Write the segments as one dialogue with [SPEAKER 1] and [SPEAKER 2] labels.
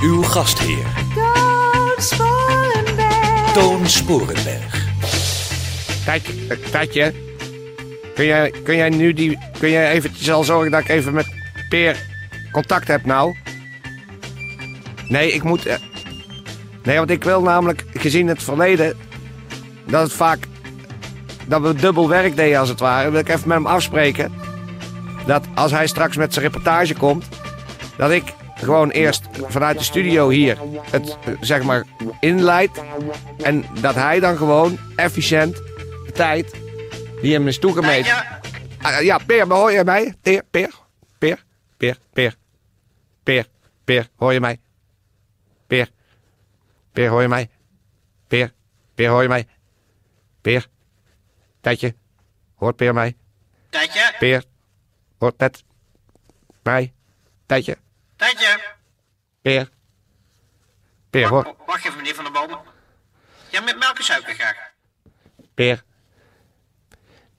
[SPEAKER 1] Uw gastheer
[SPEAKER 2] Toon Sporenberg.
[SPEAKER 1] Toon Sporenberg.
[SPEAKER 3] Tijdje, eh, tijdje. Kun jij, kun jij nu die. Kun jij eventjes al zorgen dat ik even met Peer contact heb nou? Nee, ik moet. eh, Nee, want ik wil namelijk, gezien het verleden, dat het vaak. dat we dubbel werk deden als het ware. Wil ik even met hem afspreken. Dat als hij straks met zijn reportage komt, dat ik gewoon eerst vanuit de studio hier het eh, zeg maar inleid. En dat hij dan gewoon efficiënt de tijd die hem is toegemeten. Ah, ja, Peer, maar hoor je mij? Peer, Peer, Peer, Peer, Peer, Peer, Peer, hoor je mij? Peer, Peer, hoor je mij? Peer, Peer, hoor je mij? Peer, Tetje, hoort Peer mij?
[SPEAKER 4] Tijdje,
[SPEAKER 3] Peer, hoort net mij? Tetje,
[SPEAKER 4] tijdje.
[SPEAKER 3] Peer, Peer, hoor,
[SPEAKER 4] Wa- Wacht even, meneer Van der Boom. Ja, met melk en suiker graag.
[SPEAKER 3] Peer.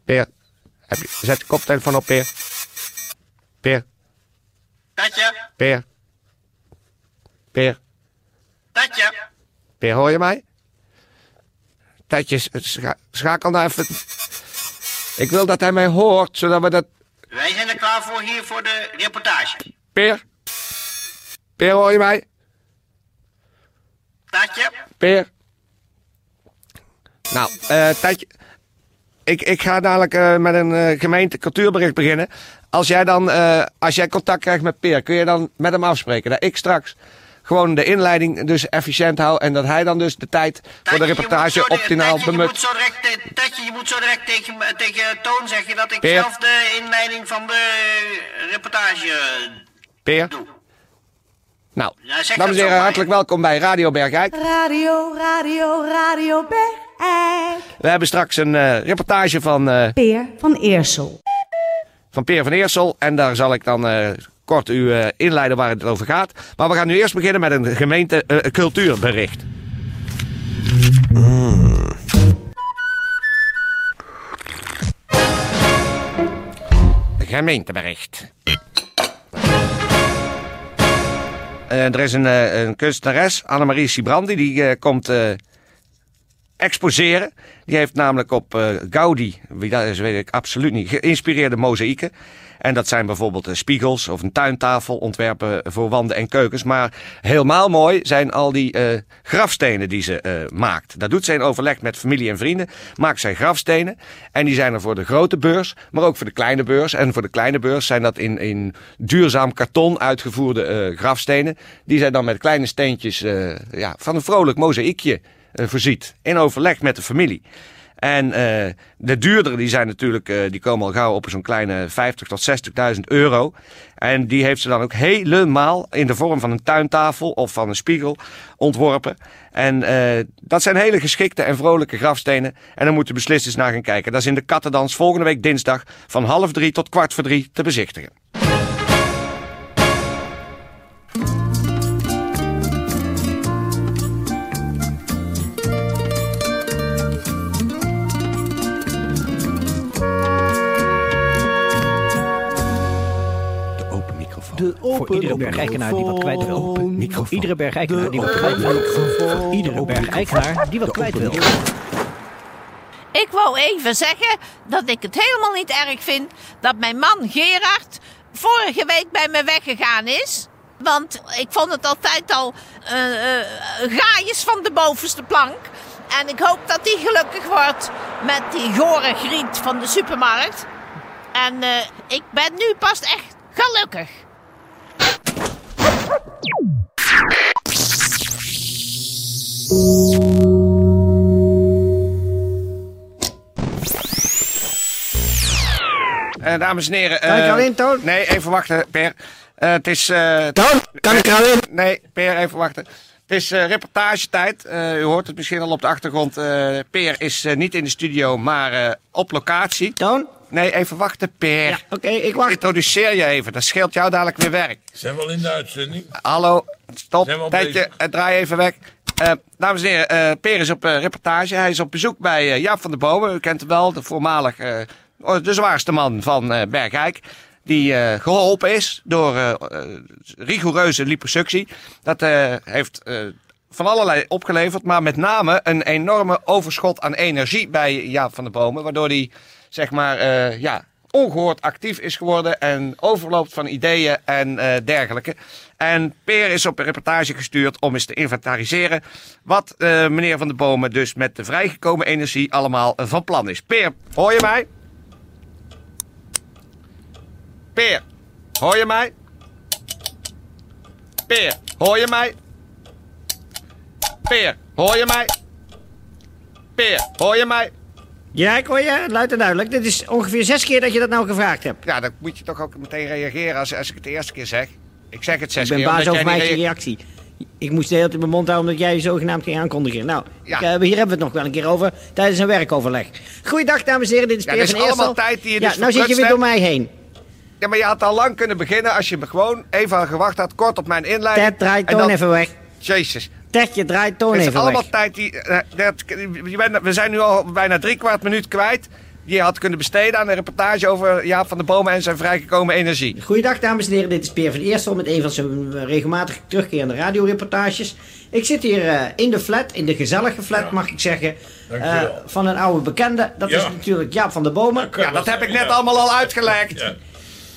[SPEAKER 3] Peer, heb je, zet de koptelefoon op, Peer. Peer,
[SPEAKER 4] Tijdje,
[SPEAKER 3] Peer. Peer,
[SPEAKER 4] tijdje.
[SPEAKER 3] Peer, hoor je mij? Tijdje, scha- schakel nou even. Ik wil dat hij mij hoort, zodat we dat...
[SPEAKER 4] Wij zijn er klaar voor hier voor de reportage.
[SPEAKER 3] Peer? Peer, hoor je mij?
[SPEAKER 4] Tijdje,
[SPEAKER 3] Peer? Nou, eh, Tijdje... Ik, ik ga dadelijk eh, met een eh, gemeente cultuurbericht beginnen. Als jij dan, eh, als jij contact krijgt met Peer, kun je dan met hem afspreken? Dat ik straks gewoon de inleiding dus efficiënt hou en dat hij dan dus de tijd voor de
[SPEAKER 4] Tijdje, je moet
[SPEAKER 3] reportage
[SPEAKER 4] zo de-
[SPEAKER 3] optimaal
[SPEAKER 4] Tijdje, Je moet
[SPEAKER 3] benut.
[SPEAKER 4] zo direct, eh, tijdje, je moet zo direct tegen, me- tegen Toon zeggen dat ik
[SPEAKER 3] Peer.
[SPEAKER 4] zelf de inleiding van de eh, reportage eh,
[SPEAKER 3] Peer?
[SPEAKER 4] doe.
[SPEAKER 3] Nou,
[SPEAKER 4] Ja, zeg dat
[SPEAKER 3] dames en
[SPEAKER 4] zo
[SPEAKER 3] heren,
[SPEAKER 4] maar.
[SPEAKER 3] hartelijk welkom bij Radio Bergijk.
[SPEAKER 2] Radio, radio, radio Bergijk.
[SPEAKER 3] We hebben straks een eh, reportage van, eh,
[SPEAKER 2] Peer van Eersel.
[SPEAKER 3] van Peer van Eersel. En daar zal ik dan eh, kort u eh, inleiden waar het over gaat. Maar we gaan nu eerst beginnen met een gemeente eh, cultuurbericht. Gemeentebericht. Eh, er is een, eh, een kunstenares, Annemarie Sibrandi, die eh, komt eh, exposeren. Die heeft namelijk op eh, Gaudi, wie dat is weet ik absoluut niet, geïnspireerde mozaïeken. En dat zijn bijvoorbeeld eh, spiegels of een tuintafel, ontwerpen voor wanden en keukens. Maar helemaal mooi zijn al die eh, grafstenen die ze eh, maakt. Dat doet ze in overleg met familie en vrienden. Maakt zij grafstenen. En die zijn er voor de grote beurs, maar ook voor de kleine beurs. En voor de kleine beurs zijn dat in, in duurzaam karton uitgevoerde eh, grafstenen. Die zij dan met kleine steentjes eh, ja, van een vrolijk mozaïekje eh, voorziet. In overleg met de familie. En eh, de duurdere die zijn natuurlijk, eh, die komen al gauw op zo'n kleine 50.000 tot 60.000 euro. En die heeft ze dan ook helemaal in de vorm van een tuintafel of van een spiegel ontworpen. En eh, dat zijn hele geschikte en vrolijke grafstenen. En daar moeten beslissers naar gaan kijken. Dat is in de Kattendans volgende week dinsdag van half drie tot kwart voor drie te bezichtigen. De open microfoon.
[SPEAKER 5] voor iedere bergeikenaar die wat kwijt wil. Voor iedere bergeikenaar die wat kwijt wil. Voor iedere bergeikenaar die wat kwijt wil.
[SPEAKER 6] Ik wou even zeggen dat ik het helemaal niet erg vind dat mijn man Gerard vorige week bij me weggegaan is. Want ik vond het altijd al eh eh, gaaiers van de bovenste plank. En ik hoop dat hij gelukkig wordt met die gore griet van de supermarkt. En eh, ik ben nu pas echt gelukkig.
[SPEAKER 3] Eh, dames en heren. eh,
[SPEAKER 5] Kijk al in, Toon.
[SPEAKER 3] Nee, even eh, wachten, Per. Eh, Eh, het is... eh,
[SPEAKER 7] Dan kan ik erin.
[SPEAKER 3] nee, Peer, even wachten. Het is eh reportagetijd. Eh, u hoort het misschien al op de achtergrond. Eh, Peer is eh, niet in de studio, maar eh, op locatie.
[SPEAKER 5] Toon?
[SPEAKER 3] Nee, even wachten, Peer.
[SPEAKER 5] Ja, oké, ik wacht.
[SPEAKER 3] Introduceer je even, dat scheelt jou dadelijk weer werk.
[SPEAKER 8] Zijn we al in de uitzending?
[SPEAKER 3] Hallo,
[SPEAKER 8] Zijn we
[SPEAKER 3] stop,
[SPEAKER 8] al
[SPEAKER 3] tijdje,
[SPEAKER 8] bezig?
[SPEAKER 3] eh, draai even weg. Eh, dames en heren, eh Per is op eh, reportage. Hij is op bezoek bij eh, Jaap van der Bomen. U kent hem wel, de voormalig, eh, oh, de zwaarste man van eh, Bergijk. Die eh, geholpen is door eh, eh, rigoureuze liposuctie. Dat eh, heeft eh, van allerlei opgeleverd, maar met name een enorme overschot aan energie bij Jaap van der Bomen. Waardoor hij, zeg maar, eh, ja, ongehoord actief is geworden en overloopt van ideeën en eh, dergelijke. En Peer is op een reportage gestuurd om eens te inventariseren wat eh, meneer Van der Bomen dus met de vrijgekomen energie allemaal eh, van plan is. Peer, hoor je mij? Peer, hoor je mij? Peer, hoor je mij? Peer, hoor je mij? Peer, hoor je mij?
[SPEAKER 5] Ja, ik hoor je, luid en duidelijk. Dit is ongeveer zes keer dat je dat nou gevraagd hebt.
[SPEAKER 3] Ja, dan moet je toch ook meteen reageren als, als ik het de eerste keer zeg. Ik zeg het zes
[SPEAKER 5] Ik ben
[SPEAKER 3] keer.
[SPEAKER 5] baas
[SPEAKER 3] omdat
[SPEAKER 5] over
[SPEAKER 3] jij
[SPEAKER 5] mijn
[SPEAKER 3] niet
[SPEAKER 5] eigen
[SPEAKER 3] reage-
[SPEAKER 5] reactie. Ik moest de hele tijd mijn mond houden omdat jij je zogenaamd ging aankondigen. Nou,
[SPEAKER 3] Ja.
[SPEAKER 5] ik, eh, hier hebben we het nog wel een keer over tijdens een werkoverleg. Goeiedag, dames en heren. Dit is
[SPEAKER 3] Ja,
[SPEAKER 5] Peer
[SPEAKER 3] dit is
[SPEAKER 5] van Eerstel.
[SPEAKER 3] allemaal tijd die je
[SPEAKER 5] Ja,
[SPEAKER 3] dus
[SPEAKER 5] nou zit je
[SPEAKER 3] verprutst
[SPEAKER 5] weer door
[SPEAKER 3] hebt.
[SPEAKER 5] mij heen.
[SPEAKER 3] Ja, maar je had al lang kunnen beginnen als je me gewoon even had gewacht had, kort op mijn inleiding.
[SPEAKER 5] Ted, draait
[SPEAKER 3] En
[SPEAKER 5] toon
[SPEAKER 3] dan-
[SPEAKER 5] even weg.
[SPEAKER 3] Jezus.
[SPEAKER 5] Ted, je draait toon
[SPEAKER 3] Het is
[SPEAKER 5] even
[SPEAKER 3] allemaal
[SPEAKER 5] weg.
[SPEAKER 3] tijd die. eh, dat- je bent- we zijn nu al bijna drie kwart minuut kwijt. Die je had kunnen besteden aan een reportage over Jaap van der Bomen en zijn vrijgekomen energie.
[SPEAKER 5] Goeiedag, dames en heren. Dit is Peer van Eerstel met een van zijn eh, regelmatig terugkerende radioreportages. Ik zit hier eh, in de flat, in de gezellige flat, mag ik zeggen.
[SPEAKER 8] Dankjewel.
[SPEAKER 5] eh, van een oude bekende. Dat
[SPEAKER 8] Ja.
[SPEAKER 5] is natuurlijk Jaap van der Bomen.
[SPEAKER 3] Ja, dat heb ik net allemaal al uitgelegd.
[SPEAKER 8] Ja.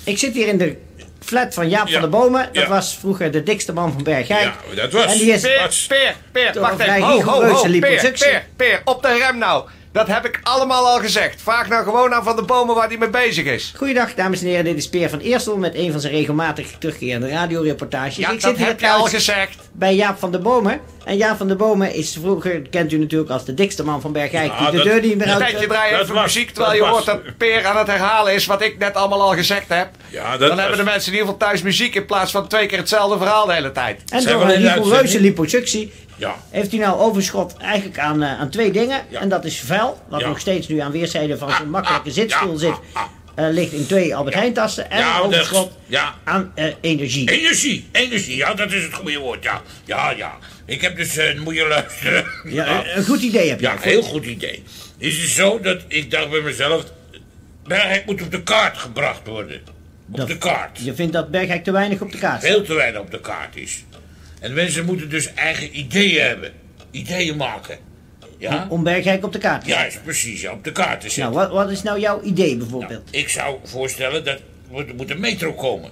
[SPEAKER 5] Ik zit hier in de flat van Jaap
[SPEAKER 8] Ja.
[SPEAKER 5] van der Bomen. Dat
[SPEAKER 8] Ja.
[SPEAKER 5] was vroeger de dikste man van Bergijk.
[SPEAKER 8] Ja, dat was-
[SPEAKER 5] En die is...
[SPEAKER 8] Peer.
[SPEAKER 3] Peer, Peer, Peer,
[SPEAKER 5] Door
[SPEAKER 3] wacht
[SPEAKER 5] vrij
[SPEAKER 3] even. Ho, ho, ho,
[SPEAKER 5] rigoureuze
[SPEAKER 3] Peer,
[SPEAKER 5] liposuctie.
[SPEAKER 3] Peer, Peer, op de rem nou. Dat heb ik allemaal al gezegd. Vraag nou gewoon aan Van der Bomen waar hij mee bezig is.
[SPEAKER 5] Goeiedag, dames en heren. Dit is Peer van Eerstel met een van zijn regelmatig terugkerende radioreportages.
[SPEAKER 3] Ja,
[SPEAKER 5] Dus ik zit
[SPEAKER 3] dat
[SPEAKER 5] hier
[SPEAKER 3] heb je al
[SPEAKER 5] trouwens
[SPEAKER 3] gezegd.
[SPEAKER 5] bij Jaap van der Bomen. En Jaap van der Bomen is vroeger, kent u natuurlijk als de dikste man van Bergijk.
[SPEAKER 8] Ja,
[SPEAKER 5] die de
[SPEAKER 8] dat-
[SPEAKER 5] deur die meer
[SPEAKER 8] dat
[SPEAKER 5] uit...
[SPEAKER 3] Tijdje, draai
[SPEAKER 8] dat
[SPEAKER 3] even
[SPEAKER 8] was-
[SPEAKER 3] muziek terwijl je
[SPEAKER 8] dat
[SPEAKER 3] hoort
[SPEAKER 8] was-
[SPEAKER 3] dat Peer aan het herhalen is wat ik net allemaal al gezegd heb.
[SPEAKER 8] Ja, dat
[SPEAKER 3] Dan
[SPEAKER 8] was-
[SPEAKER 3] hebben de mensen in ieder geval thuis muziek in plaats van twee keer hetzelfde verhaal de hele tijd.
[SPEAKER 5] En
[SPEAKER 8] Zijn
[SPEAKER 5] door
[SPEAKER 8] we
[SPEAKER 5] een
[SPEAKER 8] in de
[SPEAKER 5] rigoureuze
[SPEAKER 8] uitzending?
[SPEAKER 5] liposuctie
[SPEAKER 8] Ja.
[SPEAKER 5] heeft hij nou overschot eigenlijk aan, eh, aan twee dingen.
[SPEAKER 8] Ja.
[SPEAKER 5] En dat is vuil, wat
[SPEAKER 8] Ja.
[SPEAKER 5] nog steeds nu aan weerszijden van zijn makkelijke zitstoel
[SPEAKER 8] ah,
[SPEAKER 5] zit,
[SPEAKER 8] ah,
[SPEAKER 5] eh, ligt in twee Albert Heijn tassen. En
[SPEAKER 8] Ja,
[SPEAKER 5] een
[SPEAKER 8] dat-
[SPEAKER 5] overschot
[SPEAKER 8] ja.
[SPEAKER 5] aan eh, energie.
[SPEAKER 8] Energie, energie, ja, dat is het goede woord, ja. Ja, ja. Ik heb dus, eh, moet je luisteren.
[SPEAKER 5] Ja, eh, Een goed idee heb je.
[SPEAKER 8] Ja, heel goed idee. Is het zo dat ik dacht bij mezelf... Bergijk moet op de kaart gebracht worden. Op
[SPEAKER 5] Dat-
[SPEAKER 8] de kaart.
[SPEAKER 5] Je vindt dat Bergijk te weinig op de kaart staat.
[SPEAKER 8] Veel te weinig op de kaart is. En mensen moeten dus eigen ideeën hebben. Ideeën maken. Ja?
[SPEAKER 5] Om Bergijk op de kaart te zetten.
[SPEAKER 8] Juist, precies, ja, op de kaart te zetten.
[SPEAKER 5] Nou, wat, wat is nou jouw idee bijvoorbeeld?
[SPEAKER 8] Ik zou voorstellen dat er moet een metro komen.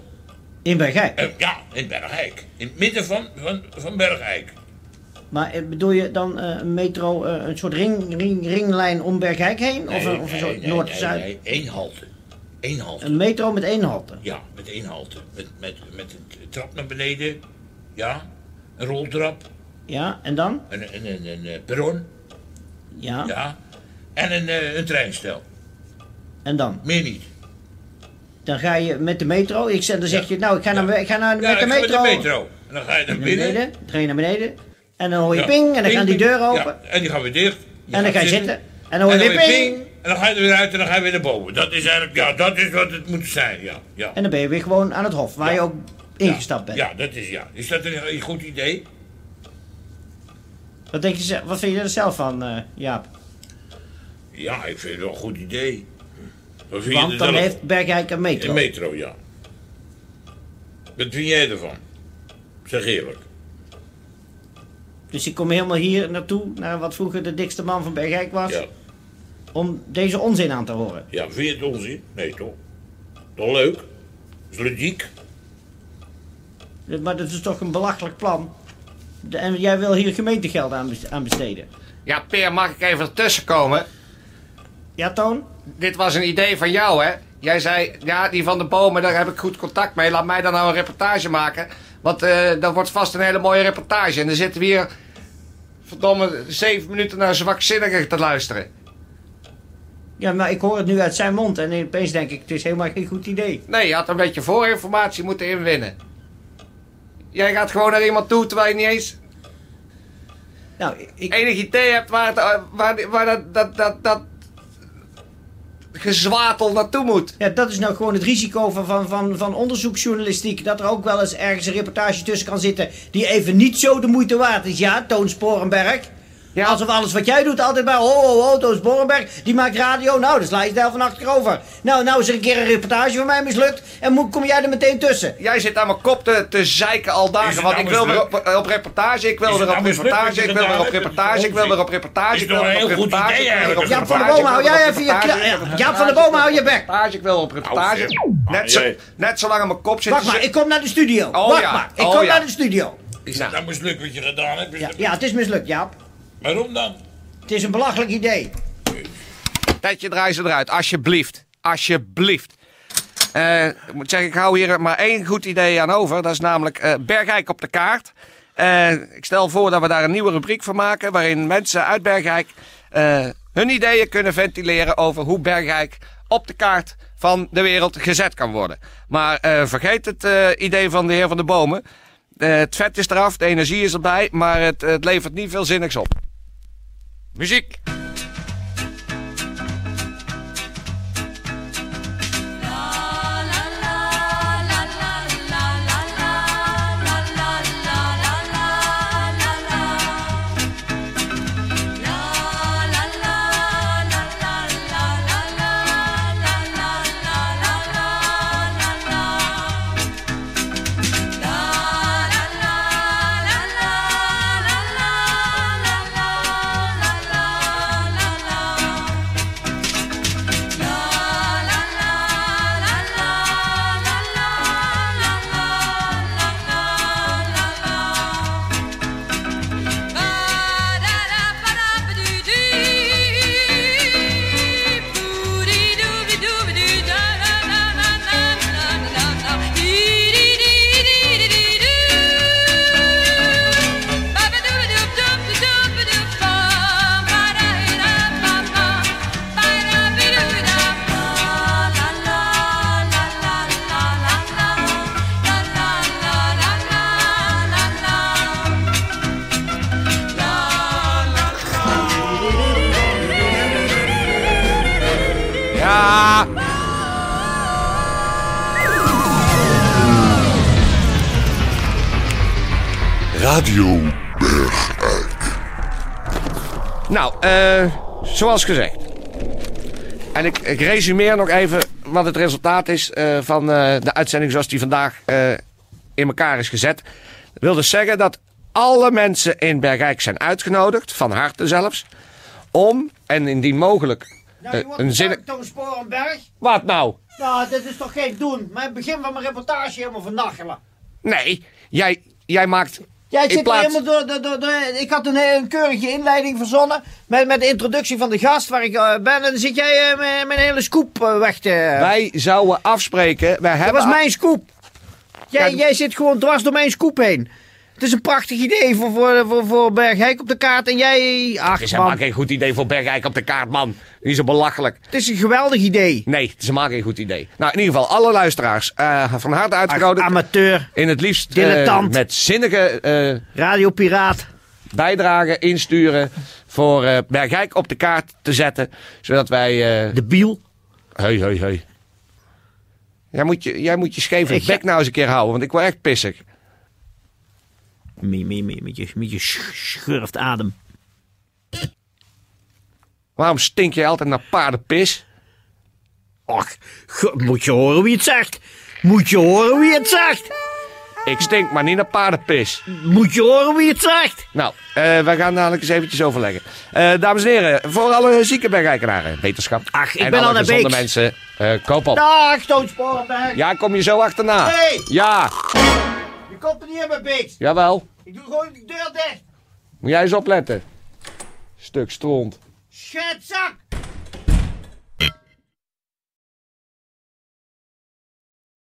[SPEAKER 5] In Bergijk.
[SPEAKER 8] Eh, ja, in Bergijk. In het midden van, van, van Bergijk.
[SPEAKER 5] Maar eh, bedoel je dan eh, een metro, eh, een soort ring, ring, ringlijn om Bergijk heen? of, een, of een soort noord-zuid?
[SPEAKER 8] Nee, één halte. Eén halte.
[SPEAKER 5] Een metro met één halte.
[SPEAKER 8] Ja, met één halte. Met, met, met een trap naar beneden. Ja, een roltrap.
[SPEAKER 5] Ja, en dan?
[SPEAKER 8] Een, een, een, een, eh, perron.
[SPEAKER 5] Ja,
[SPEAKER 8] Ja. En een, eh, een treinstel.
[SPEAKER 5] en dan?
[SPEAKER 8] Meer niet.
[SPEAKER 5] Dan ga je met de metro. Ik zeg, dan zeg je, nou, ik ga, naar, ik ga naar,
[SPEAKER 8] Ja,
[SPEAKER 5] met de
[SPEAKER 8] ik ga
[SPEAKER 5] metro.
[SPEAKER 8] Met de metro. En dan ga je naar
[SPEAKER 5] Naar
[SPEAKER 8] binnen.
[SPEAKER 5] beneden, dan ga je naar beneden. En dan hoor je
[SPEAKER 8] Ja.
[SPEAKER 5] ping, en dan
[SPEAKER 8] Ping,
[SPEAKER 5] gaan die
[SPEAKER 8] ping.
[SPEAKER 5] deuren open.
[SPEAKER 8] Ja, en die gaan weer dicht. Je
[SPEAKER 5] En dan
[SPEAKER 8] gaat
[SPEAKER 5] ga je zitten. En dan hoor je weer ping.
[SPEAKER 8] En dan ga je er weer uit en dan ga je weer naar boven. Dat is eigenlijk, ja, dat is wat het moet zijn, ja. ja.
[SPEAKER 5] En dan ben je weer gewoon aan het hof, waar je ook ingestapt bent.
[SPEAKER 8] Ja, dat is ja. Is dat een, een goed idee?
[SPEAKER 5] Wat, denk je, zelf- wat vind je er zelf van, eh, Jaap?
[SPEAKER 8] Ja, ik vind het wel een goed idee. Wat vind je
[SPEAKER 5] Want
[SPEAKER 8] er
[SPEAKER 5] dan
[SPEAKER 8] zelf-
[SPEAKER 5] heeft Bergijk een metro.
[SPEAKER 8] Een metro, ja. Wat vind jij ervan? Zeg eerlijk.
[SPEAKER 5] Dus ik kom helemaal hier naartoe, naar wat vroeger de dikste man van Bergijk was,
[SPEAKER 8] Ja.
[SPEAKER 5] om deze onzin aan te horen.
[SPEAKER 8] ja, vind je het onzin? Nee, toch? Toch leuk? Is ludiek?
[SPEAKER 5] Maar dat is toch een belachelijk plan. De- En jij wil hier gemeentegeld aan bes- aan besteden.
[SPEAKER 3] Ja, Peer, mag ik even ertussen komen?
[SPEAKER 5] Ja, Toon?
[SPEAKER 3] Dit was een idee van jou, hè? Jij zei, ja, die van de bomen, daar heb ik goed contact mee. Laat mij dan nou een reportage maken. Want eh, dat wordt vast een hele mooie reportage. En dan zitten we hier, verdomme, zeven minuten naar zwakzinnigen te luisteren.
[SPEAKER 5] Ja, maar ik hoor het nu uit zijn mond en opeens denk ik, het is helemaal geen goed idee.
[SPEAKER 7] Nee, je had een beetje voorinformatie moeten inwinnen. Jij gaat gewoon naar iemand toe terwijl je niet eens
[SPEAKER 5] Nou, ik,
[SPEAKER 7] enig idee hebt waar, het, eh, waar, waar dat, dat, dat, dat gezwatel naartoe moet.
[SPEAKER 5] ja, dat is nou gewoon het risico van, van, van, van onderzoeksjournalistiek. Dat er ook wel eens ergens een reportage tussen kan zitten die even niet zo de moeite waard is. Ja, Toon Sporenberg.
[SPEAKER 7] Ja.
[SPEAKER 5] Alsof alles wat jij doet altijd maar, oh, oh, oh, Toon Sporenberg, die maakt radio. Nou, dan sla je het helft van achterover. Nou, nou is er een keer een reportage van mij mislukt en moet, kom jij er meteen tussen.
[SPEAKER 7] Jij zit aan mijn kop te, te zeiken al
[SPEAKER 8] Is
[SPEAKER 7] dagen.
[SPEAKER 8] het
[SPEAKER 7] Want
[SPEAKER 8] nou
[SPEAKER 7] ik wil
[SPEAKER 8] eens
[SPEAKER 7] weer op, op reportage, ik wil
[SPEAKER 8] Is het
[SPEAKER 7] weer op
[SPEAKER 8] nou eens leuk
[SPEAKER 7] reportage,
[SPEAKER 8] dat
[SPEAKER 7] ik
[SPEAKER 8] je
[SPEAKER 7] wil weer op
[SPEAKER 8] dat
[SPEAKER 7] reportage, ik wil weer op reportage,
[SPEAKER 8] Is
[SPEAKER 7] ik wil
[SPEAKER 8] toch
[SPEAKER 7] weer
[SPEAKER 8] een
[SPEAKER 7] op
[SPEAKER 8] heel goed
[SPEAKER 7] reportage.
[SPEAKER 8] idee
[SPEAKER 7] ik wil weer op
[SPEAKER 5] Jaap
[SPEAKER 8] eigenlijk.
[SPEAKER 5] van der
[SPEAKER 7] reportage,
[SPEAKER 5] Boom, hou
[SPEAKER 7] ik wil
[SPEAKER 5] jij
[SPEAKER 7] weer op
[SPEAKER 5] even je
[SPEAKER 7] reportage, ik wil
[SPEAKER 5] kla-
[SPEAKER 7] weer op
[SPEAKER 5] Jaap van der
[SPEAKER 7] reportage,
[SPEAKER 5] Boom, hou je bek.
[SPEAKER 7] reportage, Ik wil op reportage.
[SPEAKER 8] zeg.
[SPEAKER 7] Net, zo,
[SPEAKER 8] Ah, jee.
[SPEAKER 7] net zolang aan mijn kop zit.
[SPEAKER 5] Wacht maar,
[SPEAKER 7] zit-
[SPEAKER 5] ik kom naar de studio.
[SPEAKER 7] Oh,
[SPEAKER 5] Wacht
[SPEAKER 7] ja.
[SPEAKER 5] maar, ik
[SPEAKER 7] Oh,
[SPEAKER 5] kom
[SPEAKER 7] ja.
[SPEAKER 5] naar de studio.
[SPEAKER 8] Is het nou mislukt wat je gedaan hebt? Is
[SPEAKER 5] Ja,
[SPEAKER 8] dat-
[SPEAKER 5] ja, het is mislukt, Jaap.
[SPEAKER 8] Waarom dan?
[SPEAKER 5] Het is een belachelijk idee.
[SPEAKER 3] Tijdje, draai ze eruit. Alsjeblieft. Alsjeblieft. Eh, ik moet zeggen, ik hou hier maar één goed idee aan over. Dat is namelijk eh, Bergijk op de kaart. Eh, ik stel voor dat we daar een nieuwe rubriek van maken... waarin mensen uit Bergijk eh, hun ideeën kunnen ventileren... over hoe Bergijk op de kaart van de wereld gezet kan worden. Maar eh, vergeet het eh, idee van de heer Van de Bomen. Eh, het vet is eraf, de energie is erbij... maar het, het levert niet veel zinnigs op. Muziek. Ja.
[SPEAKER 1] Radio.
[SPEAKER 3] Nou, eh, zoals gezegd. En ik, ik resumeer nog even wat het resultaat is eh, van eh, de uitzending zoals die vandaag eh, in elkaar is gezet. Dat wil dus zeggen dat alle mensen in Bergijk zijn uitgenodigd, van harte zelfs, om en indien mogelijk
[SPEAKER 5] Nou,
[SPEAKER 3] eh, een zin.
[SPEAKER 5] Toon Sporenberg.
[SPEAKER 3] Wat nou?
[SPEAKER 5] Nou, dit is toch geen doen. Mijn begin van mijn reportage helemaal vernachelen.
[SPEAKER 3] Nee, jij, jij maakt.
[SPEAKER 5] Jij
[SPEAKER 3] in
[SPEAKER 5] zit er
[SPEAKER 3] plaats-
[SPEAKER 5] helemaal door, door, door, door- Ik had een, een keurige inleiding verzonnen. Met, met de introductie van de gast waar ik eh, ben. En dan zit jij eh, mijn, mijn hele scoop eh, weg te...
[SPEAKER 3] Wij zouden afspreken. Wij
[SPEAKER 5] Dat
[SPEAKER 3] hebben
[SPEAKER 5] was mijn scoop. Jij,
[SPEAKER 3] Ja, d-
[SPEAKER 5] jij zit gewoon dwars door mijn scoop heen. Het is een prachtig idee voor, voor, voor, voor Bergijk op de kaart. En jij...
[SPEAKER 3] Het
[SPEAKER 5] Ach
[SPEAKER 3] is
[SPEAKER 5] man,
[SPEAKER 3] helemaal geen goed idee voor Bergijk op de kaart, man. Die is zo belachelijk.
[SPEAKER 5] het is een geweldig idee.
[SPEAKER 3] Nee, het is helemaal geen goed idee. Nou, in ieder geval, alle luisteraars eh, van harte uitgenodigd.
[SPEAKER 5] Amateur,
[SPEAKER 3] in het liefst eh,
[SPEAKER 5] Ah, Dilettant.
[SPEAKER 3] met zinnige eh,
[SPEAKER 5] radiopiraat.
[SPEAKER 3] bijdragen insturen voor eh Bergijk op de kaart te zetten. Zodat wij... eh
[SPEAKER 5] De biel.
[SPEAKER 3] Hei, hei, hei. Jij moet je, jij moet je scheve
[SPEAKER 5] Ik-
[SPEAKER 3] bek nou eens een keer houden, want ik word echt pissig.
[SPEAKER 5] Met, met, met, met je, met je sch- schurft adem.
[SPEAKER 3] Waarom stink je altijd naar paardenpis?
[SPEAKER 5] Och, ge- moet je horen wie het zegt. Moet je horen wie het zegt.
[SPEAKER 3] Ik stink maar niet naar paardenpis.
[SPEAKER 5] Moet je horen wie het zegt.
[SPEAKER 3] Nou, eh wij gaan dadelijk eens eventjes overleggen. Eh, dames en heren, voor alle zieke Bergijkenaren, wetenschap.
[SPEAKER 5] Ach, ik
[SPEAKER 3] en
[SPEAKER 5] ben
[SPEAKER 3] alle
[SPEAKER 5] al naar
[SPEAKER 3] gezonde
[SPEAKER 5] Beeks.
[SPEAKER 3] mensen, eh, koop op.
[SPEAKER 5] Dag, Toon Sporenberg.
[SPEAKER 3] Ja, kom je zo achterna.
[SPEAKER 5] Hey!
[SPEAKER 3] Ja,
[SPEAKER 5] Je komt er niet in mijn beest.
[SPEAKER 3] jawel.
[SPEAKER 5] Ik doe gewoon de deur dicht.
[SPEAKER 3] Moet jij eens opletten. Stuk stront.
[SPEAKER 5] Schetzak.